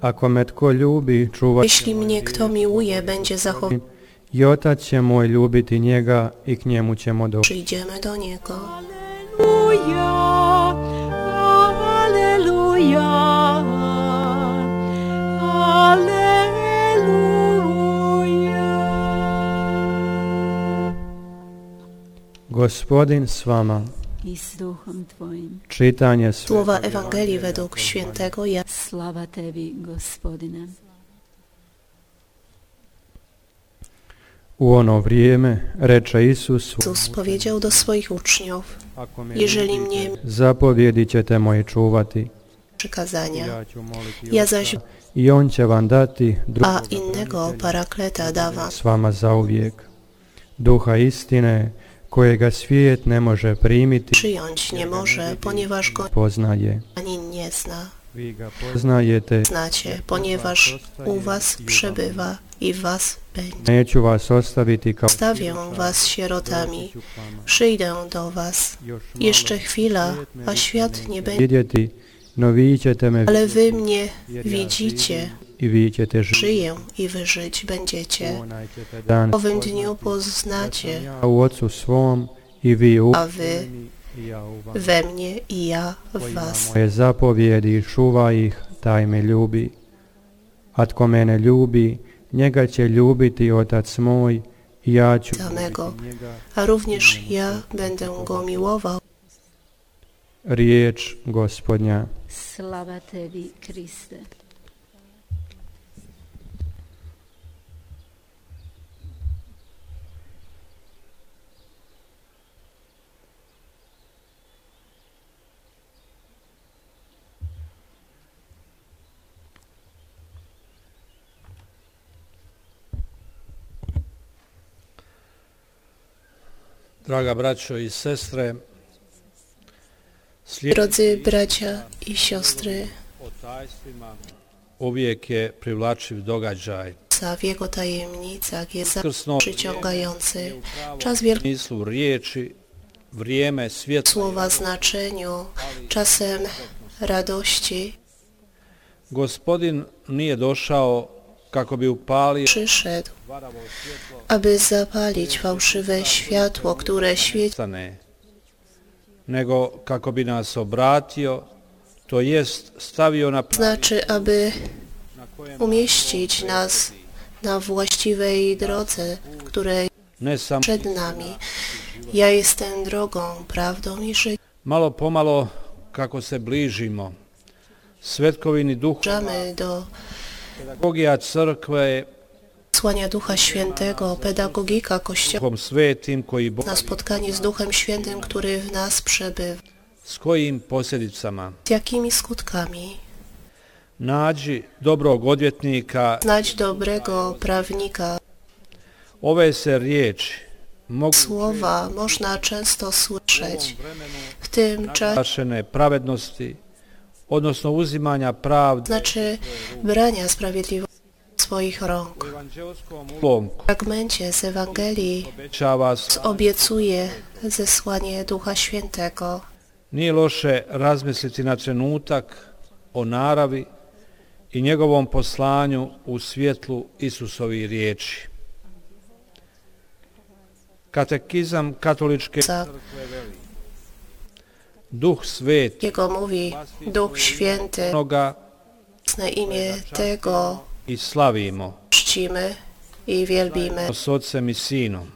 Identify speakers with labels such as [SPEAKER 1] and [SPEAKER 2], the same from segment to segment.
[SPEAKER 1] Ako me tko ljubi, čuvat će
[SPEAKER 2] Jeśli mnie kto miłuje, będzie zachował.
[SPEAKER 1] i otac će moj ljubiti njega i k njemu ćemo doći.
[SPEAKER 2] Przyjdziemy do niego.
[SPEAKER 3] Alleluja, Alleluja, Alleluja.
[SPEAKER 1] Gospodin s vama.
[SPEAKER 3] I s duhom Tvojim,
[SPEAKER 1] Čitanje s
[SPEAKER 2] Słowa Ewangelii według świętego Jana.
[SPEAKER 3] slava Tebi, Gospodine.
[SPEAKER 1] U ono vrijeme reče Isus svom
[SPEAKER 2] Jezus powiedział do swoich uczniów
[SPEAKER 1] Ako me
[SPEAKER 2] Jeżeli
[SPEAKER 1] ljubite,
[SPEAKER 2] mnie-
[SPEAKER 1] zapovjedi ćete moji čuvati.
[SPEAKER 2] przykazania,
[SPEAKER 1] Ja ću moliti
[SPEAKER 2] Ja
[SPEAKER 1] Oca
[SPEAKER 2] zaś-
[SPEAKER 1] i on će vam dati drugoga
[SPEAKER 2] a innego
[SPEAKER 1] branitelja
[SPEAKER 2] parakleta da wam,
[SPEAKER 1] s vama zauvijek. Duha istine kojega svijet ne može primiti,
[SPEAKER 2] przyjąć nie może, ponieważ go
[SPEAKER 1] poznaje.
[SPEAKER 2] ani nie zna.
[SPEAKER 1] Vi ga poznajete,
[SPEAKER 2] Znacie, ponieważ u was przebywa i w was będzie.
[SPEAKER 1] neću vas ostaviti kao
[SPEAKER 2] Stawię
[SPEAKER 1] sirota,
[SPEAKER 2] was sierotami,
[SPEAKER 1] doći ću k vama.
[SPEAKER 2] przyjdę do was.
[SPEAKER 1] Još malo
[SPEAKER 2] Jeszcze chwila, a świat nie będzie,
[SPEAKER 1] vidjeti, no vi ćete me
[SPEAKER 2] ale wy mnie
[SPEAKER 1] jer ja
[SPEAKER 2] widzicie,
[SPEAKER 1] živim i vi ćete živjeti.
[SPEAKER 2] żyję i wy żyć będziecie.
[SPEAKER 1] Onaj ćete dan
[SPEAKER 2] W owym dniu
[SPEAKER 1] spoznati.
[SPEAKER 2] poznacie
[SPEAKER 1] Ja u ocu svom i vi u
[SPEAKER 2] A wy?
[SPEAKER 1] meni i ja u vama.
[SPEAKER 2] we mnie i ja
[SPEAKER 1] Koji
[SPEAKER 2] w
[SPEAKER 1] ima
[SPEAKER 2] was.
[SPEAKER 1] moje zapovjedi i čuva ih, taj me ljubi. A tko mene ljubi, njega će ljubiti otac moj i ja ću
[SPEAKER 2] Samego.
[SPEAKER 1] ljubiti njega.
[SPEAKER 2] A również ja będę go miłował.
[SPEAKER 1] Riječ gospodnja.
[SPEAKER 3] Slava Tebi, Kriste.
[SPEAKER 4] Draga braćo i sestre, slijed
[SPEAKER 2] Drodzy bracia i siostry,
[SPEAKER 4] o tajstvima uvijek je privlačiv događaj.
[SPEAKER 2] za w jego tajemnicach jest za-
[SPEAKER 4] Krsno
[SPEAKER 2] przyciągający.
[SPEAKER 4] u pravom
[SPEAKER 2] Czas wielkiego
[SPEAKER 4] smislu riječi, vrijeme, svjetlo.
[SPEAKER 2] słowa znaczeniu, czasem radości,
[SPEAKER 4] Gospodin nije došao kako bi upalio
[SPEAKER 2] przyszedł,
[SPEAKER 4] varavo svjetlo
[SPEAKER 2] aby zapalić fałszywe światło, które świeci,
[SPEAKER 4] stane, nego kako bi nas obratio, to jest stavio na pravi
[SPEAKER 2] znaczy, aby
[SPEAKER 4] na kojem
[SPEAKER 2] umieścić nas na właściwej drodze, której
[SPEAKER 4] ne samo
[SPEAKER 2] przed nami. Ja jestem drogą, prawdą i życiem.
[SPEAKER 4] Malo pomalo kako se bližimo Svetkovini duh
[SPEAKER 2] Dążamy do
[SPEAKER 4] pedagogija crkve
[SPEAKER 2] słania Ducha Świętego, pedagogika Kościoła
[SPEAKER 4] duhom svetim koji bo
[SPEAKER 2] na spotkanie z Duchem Świętym, który w nas przebywa.
[SPEAKER 4] s kojim posljedicama
[SPEAKER 2] Z jakimi skutkami?
[SPEAKER 4] nađi dobrog odvjetnika
[SPEAKER 2] Znać dobrego prawnika.
[SPEAKER 4] ove se riječi mogu
[SPEAKER 2] Słowa można często słyszeć. W tym czasie
[SPEAKER 4] zašene pravednosti odnosno uzimanja pravde
[SPEAKER 2] znaczy brania sprawiedliwości w swoich rąk.
[SPEAKER 4] u evanđeoskom ulomku
[SPEAKER 2] W fragmencie z Ewangelii
[SPEAKER 4] obećava se
[SPEAKER 2] obiecuje zesłanie Ducha Świętego.
[SPEAKER 4] nije loše razmisliti na trenutak o naravi i njegovom poslanju u svjetlu Isusovi riječi. Katekizam katoličke
[SPEAKER 2] Za
[SPEAKER 4] duh svet
[SPEAKER 2] jego mówi Duch Święty,
[SPEAKER 4] noga
[SPEAKER 2] na imię tego
[SPEAKER 4] i slavimo
[SPEAKER 2] czcimy i wielbimy.
[SPEAKER 4] s ocem i sinom.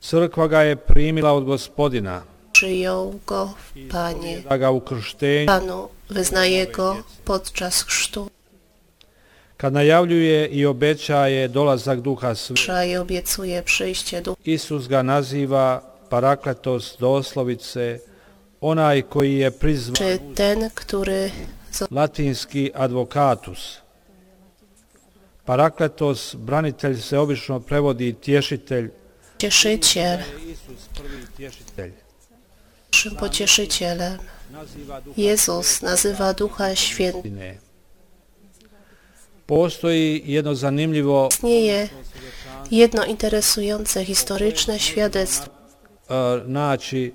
[SPEAKER 4] Crkva ga je primila od gospodina
[SPEAKER 2] Przyjął go w Panie.
[SPEAKER 4] da ga u krštenju
[SPEAKER 2] Panu wyznaje go podczas chrztu.
[SPEAKER 4] kad najavljuje i obećaje dolazak duha sveta.
[SPEAKER 2] i obiecuje przyjście Ducha.
[SPEAKER 4] Isus ga naziva parakletos doslovice, onaj koji je prizvan
[SPEAKER 2] Czy ten, który
[SPEAKER 4] latinski advokatus. Parakletos, branitelj se obično prevodi tješitelj.
[SPEAKER 2] cieszyciel,
[SPEAKER 4] Isus prvi tješitelj.
[SPEAKER 2] naszym pocieszycielem,
[SPEAKER 4] Naziva duha
[SPEAKER 2] Jezus nazywa Ducha Świętego.
[SPEAKER 4] istine. Postoji jedno zanimljivo
[SPEAKER 2] Istnieje jedno interesujące historyczne świadectwo
[SPEAKER 4] e, naći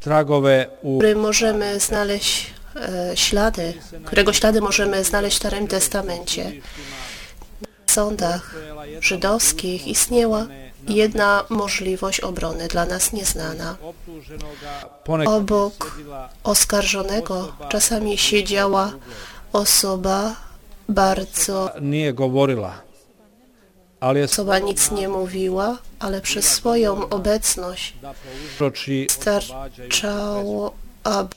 [SPEAKER 4] tragove u
[SPEAKER 2] które możemy znaleźć e, ślady, którego ślady możemy znaleźć w Starym Testamencie. W sądach żydowskich istniała jedna możliwość obrony dla nas nieznana.
[SPEAKER 4] Ponekad
[SPEAKER 2] Obok oskarżonego czasami siedziała osoba bardzo,
[SPEAKER 4] nije govorila, ali je
[SPEAKER 2] osoba nic nie mówiła, ale przez swoją obecność
[SPEAKER 4] proči
[SPEAKER 2] starczało, aby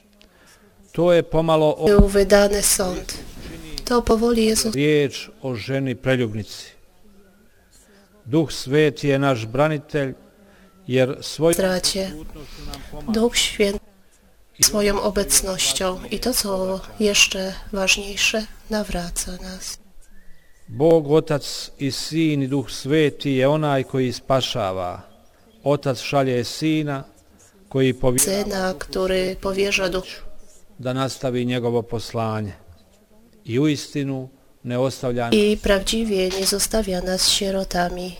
[SPEAKER 4] To je pomalo o-
[SPEAKER 2] był wydany sąd. To powoli Jezus
[SPEAKER 4] riječ o ženi preljubnici. Duh sveti je naš branitelj, jer svoj
[SPEAKER 2] stracie. Duch Święty swoją obecnością i to, co jeszcze ważniejsze, nawraca nas.
[SPEAKER 4] Bog, Otac i Sin i Duh Sveti je onaj koji spašava. Otac šalje Sina koji povjeruje
[SPEAKER 2] Syna, który powierza Duch
[SPEAKER 4] da nastavi njegovo poslanje. I u istinu ne ostavlja.
[SPEAKER 2] i prawdziwie nie zostawia nas sierotami.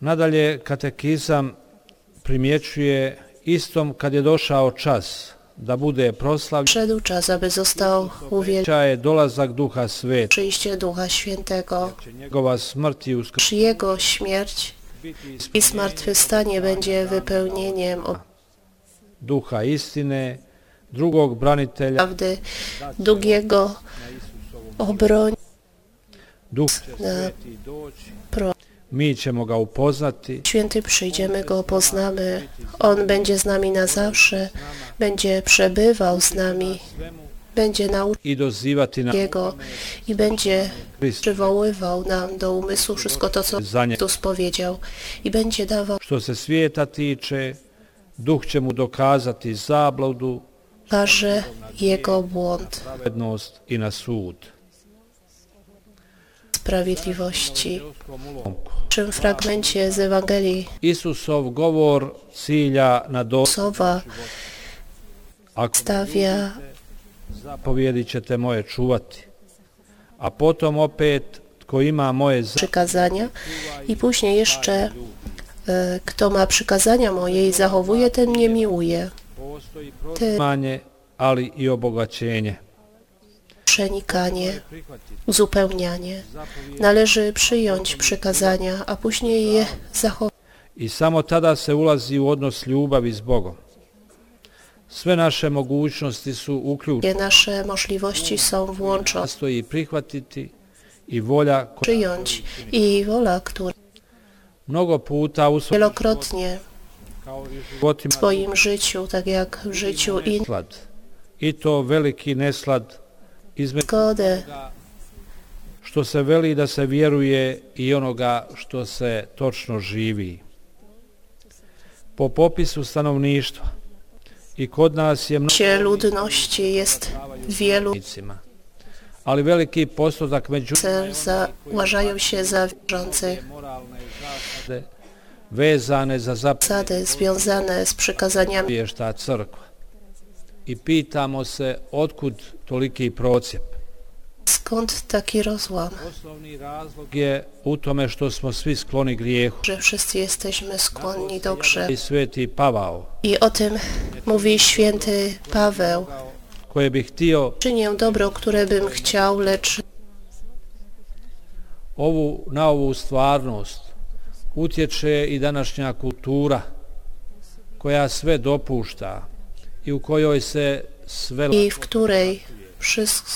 [SPEAKER 4] Nadalje katekizam primjećuje istom kad je došao čas da bude proslavljen,
[SPEAKER 2] Przyszedł czas, aby został uwielbiony
[SPEAKER 4] je dolazak Duha Sveta,
[SPEAKER 2] przyjście Ducha Świętego.
[SPEAKER 4] će njegova smrt i uskrs
[SPEAKER 2] Przy Jego śmierć
[SPEAKER 4] biti
[SPEAKER 2] i zmartwychwstanie będzie wypełnieniem
[SPEAKER 4] Duha istine, drugog branitelja,
[SPEAKER 2] prawdy, długiego obroń
[SPEAKER 4] Duh će
[SPEAKER 2] na
[SPEAKER 4] Sveti doći
[SPEAKER 2] pro.
[SPEAKER 4] Mi ćemo ga upoznati,
[SPEAKER 2] Święty przyjdziemy, Go poznamy. On będzie z nami na zawsze, będzie przebywał z nami, będzie nauczył
[SPEAKER 4] i dozivati na
[SPEAKER 2] Jego i będzie
[SPEAKER 4] Krist
[SPEAKER 2] przywoływał nam do umysłu wszystko to, co
[SPEAKER 4] za nje.
[SPEAKER 2] Chrystus powiedział i będzie dawał
[SPEAKER 4] Što se svijeta tiče, duh će mu dokazati zabludu,
[SPEAKER 2] karze Jego błąd
[SPEAKER 4] pravednost i na sud.
[SPEAKER 2] sprawiedliwości. W czym fragmencie z Ewangelii
[SPEAKER 4] Isusov govor cilja na dosta.
[SPEAKER 2] Sowa
[SPEAKER 4] Ako
[SPEAKER 2] stawia
[SPEAKER 4] zapovjedi ćete moje čuvati. A potom opet, tko ima moje za...
[SPEAKER 2] przykazania i później jeszcze e, kto ma przykazania moje i zachowuje, ten mnie miłuje.
[SPEAKER 4] Postoji
[SPEAKER 2] Te
[SPEAKER 4] manje, ali i obogaćenje.
[SPEAKER 2] przenikanie,
[SPEAKER 4] Prihvatiti
[SPEAKER 2] uzupełnianie.
[SPEAKER 4] zapovjedi
[SPEAKER 2] Należy przyjąć przykazania, a później je zachować.
[SPEAKER 4] I samo tada se ulazi u odnos ljubavi s Bogom. Sve naše mogućnosti su uključene,
[SPEAKER 2] Nasze możliwości są włączone.
[SPEAKER 4] nastoji prihvatiti i volja koja
[SPEAKER 2] Przyjąć i wola, która
[SPEAKER 4] mnogo puta u svojim
[SPEAKER 2] wielokrotnie
[SPEAKER 4] kao i
[SPEAKER 2] w
[SPEAKER 4] životima
[SPEAKER 2] swoim życiu, tak jak w życiu innych,
[SPEAKER 4] neslad. I to veliki neslad između
[SPEAKER 2] zgodę
[SPEAKER 4] što se veli da se vjeruje i onoga što se točno živi. Po popisu stanovništva i kod nas je mnogo
[SPEAKER 2] się ludności jest wielu
[SPEAKER 4] stanovnicima, ali veliki postotak među
[SPEAKER 2] cel za, uważają się za wierzących.
[SPEAKER 4] moralne zasade vezane za zapovješta
[SPEAKER 2] Zasady związane z przykazaniami
[SPEAKER 4] crkva. I pitamo se otkud toliki procjep.
[SPEAKER 2] Skąd taki rozłam,
[SPEAKER 4] Osnovni razlog je u tome što smo svi skloni grijehu.
[SPEAKER 2] że wszyscy jesteśmy skłonni do grzechu?
[SPEAKER 4] I sveti Pavao,
[SPEAKER 2] I o tym mówi święty Paweł.
[SPEAKER 4] koje bi htio
[SPEAKER 2] Czynię dobro, które bym chciał, lecz
[SPEAKER 4] ovu, na ovu stvarnost utječe i današnja kultura koja sve dopušta i u kojoj se sve
[SPEAKER 2] i w której wszystko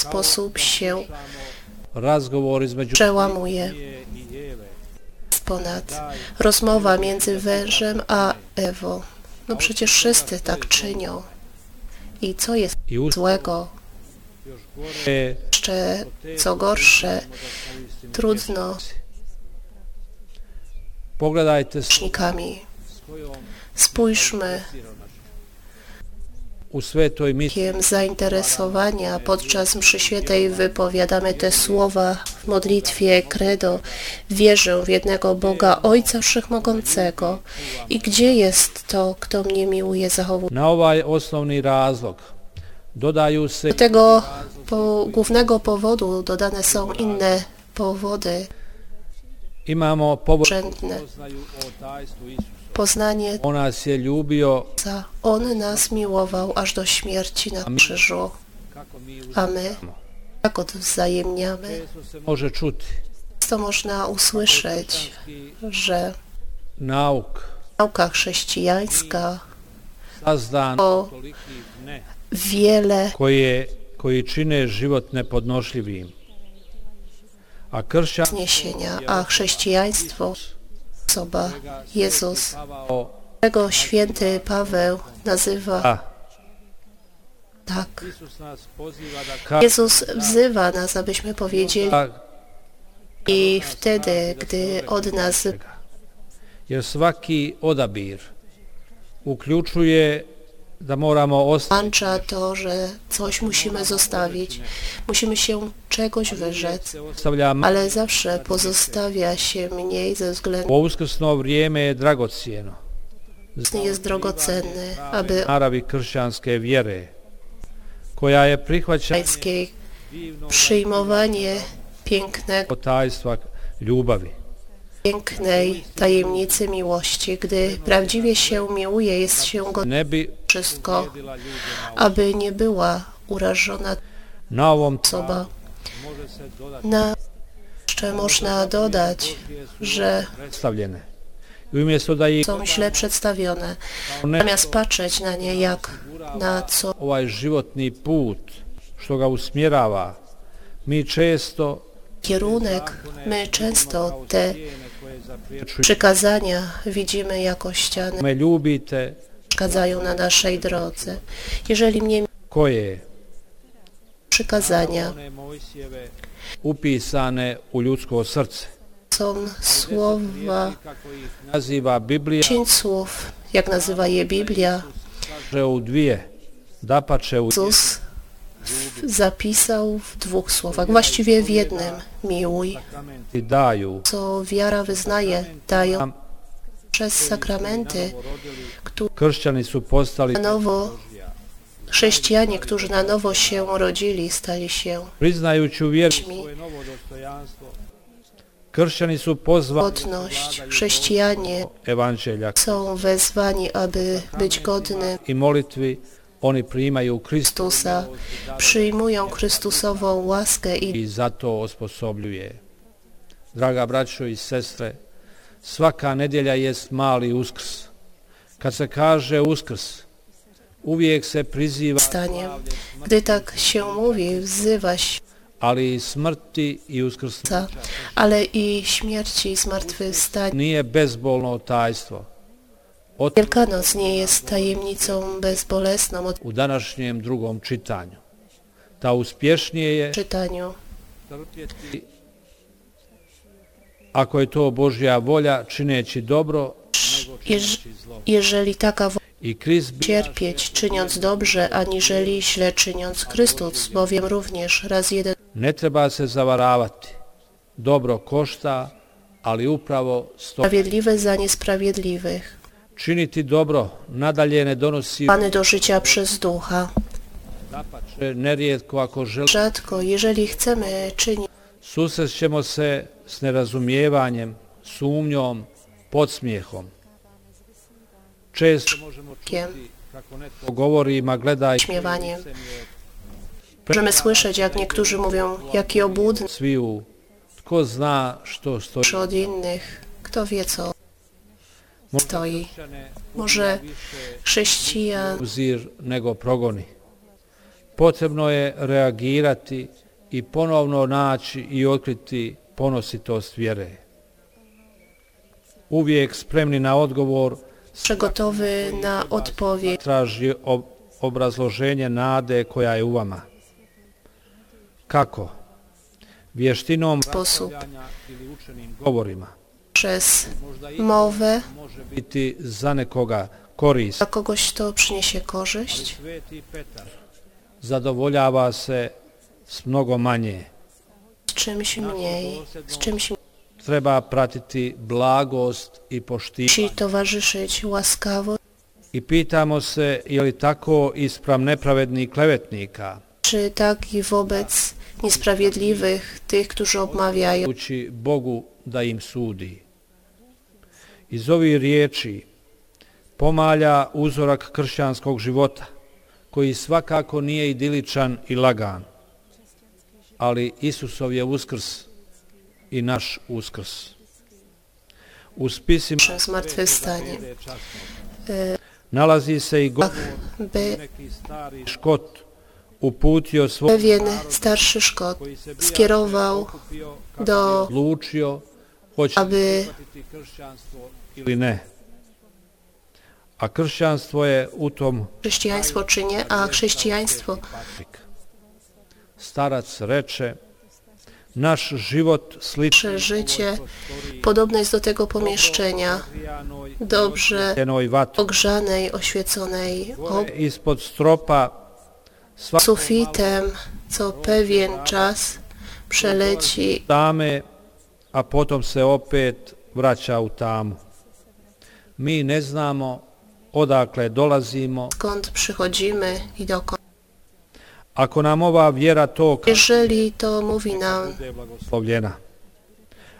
[SPEAKER 2] sposób się
[SPEAKER 4] razgovor između
[SPEAKER 2] przełamuje
[SPEAKER 4] Marije i Eve
[SPEAKER 2] ponad rozmowa między wężem a Ewą. No przecież wszyscy tak czynią. I co jest
[SPEAKER 4] i uz
[SPEAKER 2] złego?
[SPEAKER 4] je
[SPEAKER 2] Jeszcze co gorsze, trudno z
[SPEAKER 4] pogledajte s
[SPEAKER 2] grzesznikami.
[SPEAKER 4] kojom
[SPEAKER 2] Spójrzmy
[SPEAKER 4] u svetoj misli
[SPEAKER 2] znakiem zainteresowania podczas mszy świętej wypowiadamy te słowa w modlitwie Credo. Wierzę w jednego Boga, Ojca Wszechmogącego. I gdzie jest to, kto mnie miłuje, zachowuje?
[SPEAKER 4] na ovaj osnovni razlog dodaju se
[SPEAKER 2] Do tego po, głównego powodu dodane są inne powody
[SPEAKER 4] imamo povod
[SPEAKER 2] urzędne.
[SPEAKER 4] poznaju o tajstvu Isusa
[SPEAKER 2] poznanie
[SPEAKER 4] On nas je ljubio,
[SPEAKER 2] Ojca. On nas miłował aż do śmierci na krzyżu,
[SPEAKER 4] kako mi uz-
[SPEAKER 2] a my tak odwzajemniamy.
[SPEAKER 4] Često se može čuti
[SPEAKER 2] To można usłyszeć, że
[SPEAKER 4] nauk
[SPEAKER 2] nauka chrześcijańska
[SPEAKER 4] sazdan
[SPEAKER 2] o
[SPEAKER 4] tolikih ne
[SPEAKER 2] wiele
[SPEAKER 4] koje, koji čine život nepodnošljivim. A kršćan
[SPEAKER 2] niesienia, a chrześcijaństwo osoba Jezus,
[SPEAKER 4] davao
[SPEAKER 2] którego święty Paweł nazywa
[SPEAKER 4] a
[SPEAKER 2] tak.
[SPEAKER 4] Isus nas poziva da ka,
[SPEAKER 2] Jezus wzywa nas, abyśmy powiedzieli
[SPEAKER 4] da
[SPEAKER 2] i wtedy, gdy od nas
[SPEAKER 4] čega. Jer svaki odabir uključuje da moramo ostati
[SPEAKER 2] włącza to, że coś musimy zostawić, musimy się czegoś wyrzec,
[SPEAKER 4] se ostavlja ma-
[SPEAKER 2] ale zawsze pozostawia się mniej ze względu
[SPEAKER 4] Ovo uskrsno vrijeme je dragocijeno.
[SPEAKER 2] na jest drogocenny, aby
[SPEAKER 4] Naravi kršćanske vjere koja je prihvaćena
[SPEAKER 2] pańskiej przyjmowanie pięknego,
[SPEAKER 4] potajstva ljubavi.
[SPEAKER 2] pięknej tajemnicy miłości, gdy prawdziwie się miłuje, jest się go
[SPEAKER 4] Ne bi
[SPEAKER 2] wszystko, aby nie była urażona
[SPEAKER 4] na ovom
[SPEAKER 2] osoba.
[SPEAKER 4] može se dodati
[SPEAKER 2] Na jeszcze można dodać, że
[SPEAKER 4] predstavljene. I umjesto da ih
[SPEAKER 2] są źle przedstawione.
[SPEAKER 4] kao ne
[SPEAKER 2] Zamiast patrzeć na nie jak na co
[SPEAKER 4] ovaj životni put što ga usmjerava, mi često
[SPEAKER 2] kierunek, my często te
[SPEAKER 4] cijene koje zapriječuju
[SPEAKER 2] przykazania widzimy jako ściany,
[SPEAKER 4] me ljubite,
[SPEAKER 2] przeszkadzają na naszej drodze. Jeżeli mnie
[SPEAKER 4] koje
[SPEAKER 2] przykazania
[SPEAKER 4] one Mojsijeve upisane u ljudsko srce.
[SPEAKER 2] są słowa,
[SPEAKER 4] Kako ih naziva Biblija,
[SPEAKER 2] dziesięć słów, jak nazywa je Biblia,
[SPEAKER 4] kaže u dvije, da pače u
[SPEAKER 2] Jezus w- zapisał w dwóch słowach, właściwie w jednym, miłuj,
[SPEAKER 4] sakramenti daju
[SPEAKER 2] co wiara wyznaje, dają przez sakramenty, które
[SPEAKER 4] Kršćani su postali
[SPEAKER 2] na nowo chrześcijanie, którzy na nowo się rodzili, stali się
[SPEAKER 4] priznajući u vjeri
[SPEAKER 2] Mi-
[SPEAKER 4] svoje novo dostojanstvo. Kršćani su pozvani
[SPEAKER 2] godność. Chrześcijanie
[SPEAKER 4] evanđelja
[SPEAKER 2] są wezwani, aby być godny
[SPEAKER 4] i molitvi oni primaju Kristu
[SPEAKER 2] Chrystusa. Przyjmują Chrystusową łaskę i
[SPEAKER 4] i zato osposobljuje. Draga braćo i sestre, svaka nedjelja jest mali uskrs. Kad se kaže uskrs, uvijek se priziva
[SPEAKER 2] stanie. Gdy tak się mówi, wzywa się,
[SPEAKER 4] ali i smrti i uskrsnuća.
[SPEAKER 2] Chrystusa, ale i śmierci i zmartwychwstania.
[SPEAKER 4] Nije bezbolno tajstvo. Ot
[SPEAKER 2] Wielkanoc nie jest tajemnicą bezbolesną od
[SPEAKER 4] u današnjem drugom čitanju. Da uspješnije je
[SPEAKER 2] czytaniu.
[SPEAKER 4] trpjeti ako je to Božja volja čineći dobro
[SPEAKER 2] Jeż, jeżeli taka
[SPEAKER 4] i Krist bi
[SPEAKER 2] cierpieć, czyniąc dobrze, aniżeli źle czyniąc Chrystus, bowiem również raz jeden
[SPEAKER 4] ne treba se zavaravati. Dobro košta, ali upravo sto
[SPEAKER 2] sprawiedliwy za niesprawiedliwych,
[SPEAKER 4] činiti dobro nadalje ne donosi
[SPEAKER 2] pany do życia przez ducha.
[SPEAKER 4] dapače nerijetko ako želi
[SPEAKER 2] Rzadko, jeżeli chcemy czynić,
[SPEAKER 4] susrećemo se s nerazumijevanjem, sumnjom, podsmijehom. Često možemo čuti kako netko govori, ma gledaj,
[SPEAKER 2] Podsmjevanjem. możemy słyszeć, jak niektórzy mówią, jaki obłudny
[SPEAKER 4] sviju, tko zna što stoji.
[SPEAKER 2] od innych, kto wie co stoi. Może chrześcijan
[SPEAKER 4] uzir nego progoni. Potrebno je reagirati i ponovno naći i otkriti ponositost vjere. Uvijek spremni na odgovor
[SPEAKER 2] przygotowy na odpowiedź,
[SPEAKER 4] traži ob obrazloženje nade koja je u vama. Kako? Vještinom
[SPEAKER 2] Sposób.
[SPEAKER 4] raspravljanja ili učenim govorima
[SPEAKER 2] przez mowę,
[SPEAKER 4] može biti za nekoga korist.
[SPEAKER 2] dla kogoś to przyniesie korzyść,
[SPEAKER 4] Sveti Petar zadovoljava se s mnogo manje.
[SPEAKER 2] z čymś mniej, z czymś
[SPEAKER 4] Treba pratiti blagost i
[SPEAKER 2] musi
[SPEAKER 4] poštivanje.
[SPEAKER 2] towarzyszyć łaskawość,
[SPEAKER 4] I pitamo se je li tako ispram nepravednih klevetnika,
[SPEAKER 2] czy tak i wobec niesprawiedliwych, tych, którzy obmawiają
[SPEAKER 4] uči Bogu da im sudi. Iz ovih riječi pomalja uzorak kršćanskog života, koji svakako nije idiličan i lagan, ali Isusov je uskrs i naš uskrs. U spisima
[SPEAKER 2] zmartwychwstanie.
[SPEAKER 4] nalazi se i govor
[SPEAKER 2] by
[SPEAKER 4] neki stari škot uputio svoj
[SPEAKER 2] pewien starszy Szkot
[SPEAKER 4] koji se bija
[SPEAKER 2] skierował
[SPEAKER 4] okupio kako
[SPEAKER 2] do,
[SPEAKER 4] odlučio hoće li
[SPEAKER 2] aby
[SPEAKER 4] prihvatiti kršćanstvo ili ne. A kršćanstvo je u tom
[SPEAKER 2] chrześcijaństwo czy nie, a chrześcijaństwo
[SPEAKER 4] Patrik. Starac reče, naš život sličan
[SPEAKER 2] nasze życie podobne jest do tego pomieszczenia, dobrze
[SPEAKER 4] tenoj vatri.
[SPEAKER 2] ogrzanej, oświeconej
[SPEAKER 4] Gore Ispod stropa svakog
[SPEAKER 2] sufitem, co pewien czas przeleci
[SPEAKER 4] tame, a potom se opet vraća u tamu. Mi ne znamo odakle dolazimo,
[SPEAKER 2] skąd przychodzimy i dokąd.
[SPEAKER 4] ako nam ova vjera to kaže,
[SPEAKER 2] Jeżeli to mówi nam
[SPEAKER 4] bude blagoslovljena.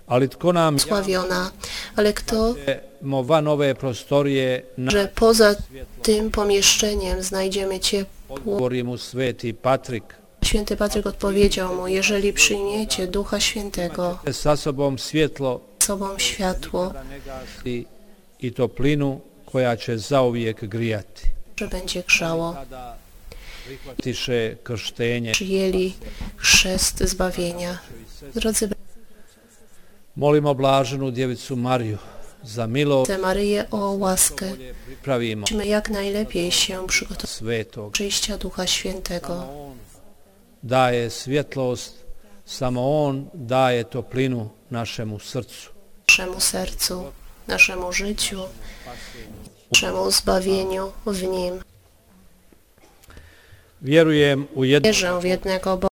[SPEAKER 4] Ali tko nam
[SPEAKER 2] sławiona, ale kto,
[SPEAKER 4] mo van ove prostorije na
[SPEAKER 2] że poza tym pomieszczeniem znajdziemy ciepło
[SPEAKER 4] odgovori mu sveti Patrik,
[SPEAKER 2] Święty Patryk odpowiedział mu, jeżeli przyjmiecie Ducha Świętego,
[SPEAKER 4] sa sobom svjetlo
[SPEAKER 2] sobą światło,
[SPEAKER 4] i, i toplinu koja će zauvijek grijati.
[SPEAKER 2] że będzie grzało.
[SPEAKER 4] Kada prihvatiše krštenje,
[SPEAKER 2] Przyjęli chrzest zbawienia. Drodzy
[SPEAKER 4] molimo blaženu djevicu Mariju za milost
[SPEAKER 2] bracie Maryję o łaskę,
[SPEAKER 4] bolje pripravimo
[SPEAKER 2] musimy jak najlepiej się przygotować do
[SPEAKER 4] svetog.
[SPEAKER 2] przyjścia Ducha Świętego.
[SPEAKER 4] On daje svjetlost, samo On daje toplinu našemu srcu.
[SPEAKER 2] naszemu sercu, naszemu życiu, naszemu zbawieniu w Nim.
[SPEAKER 4] Vjerujem u jedno
[SPEAKER 2] Wierzę w jednego Boga.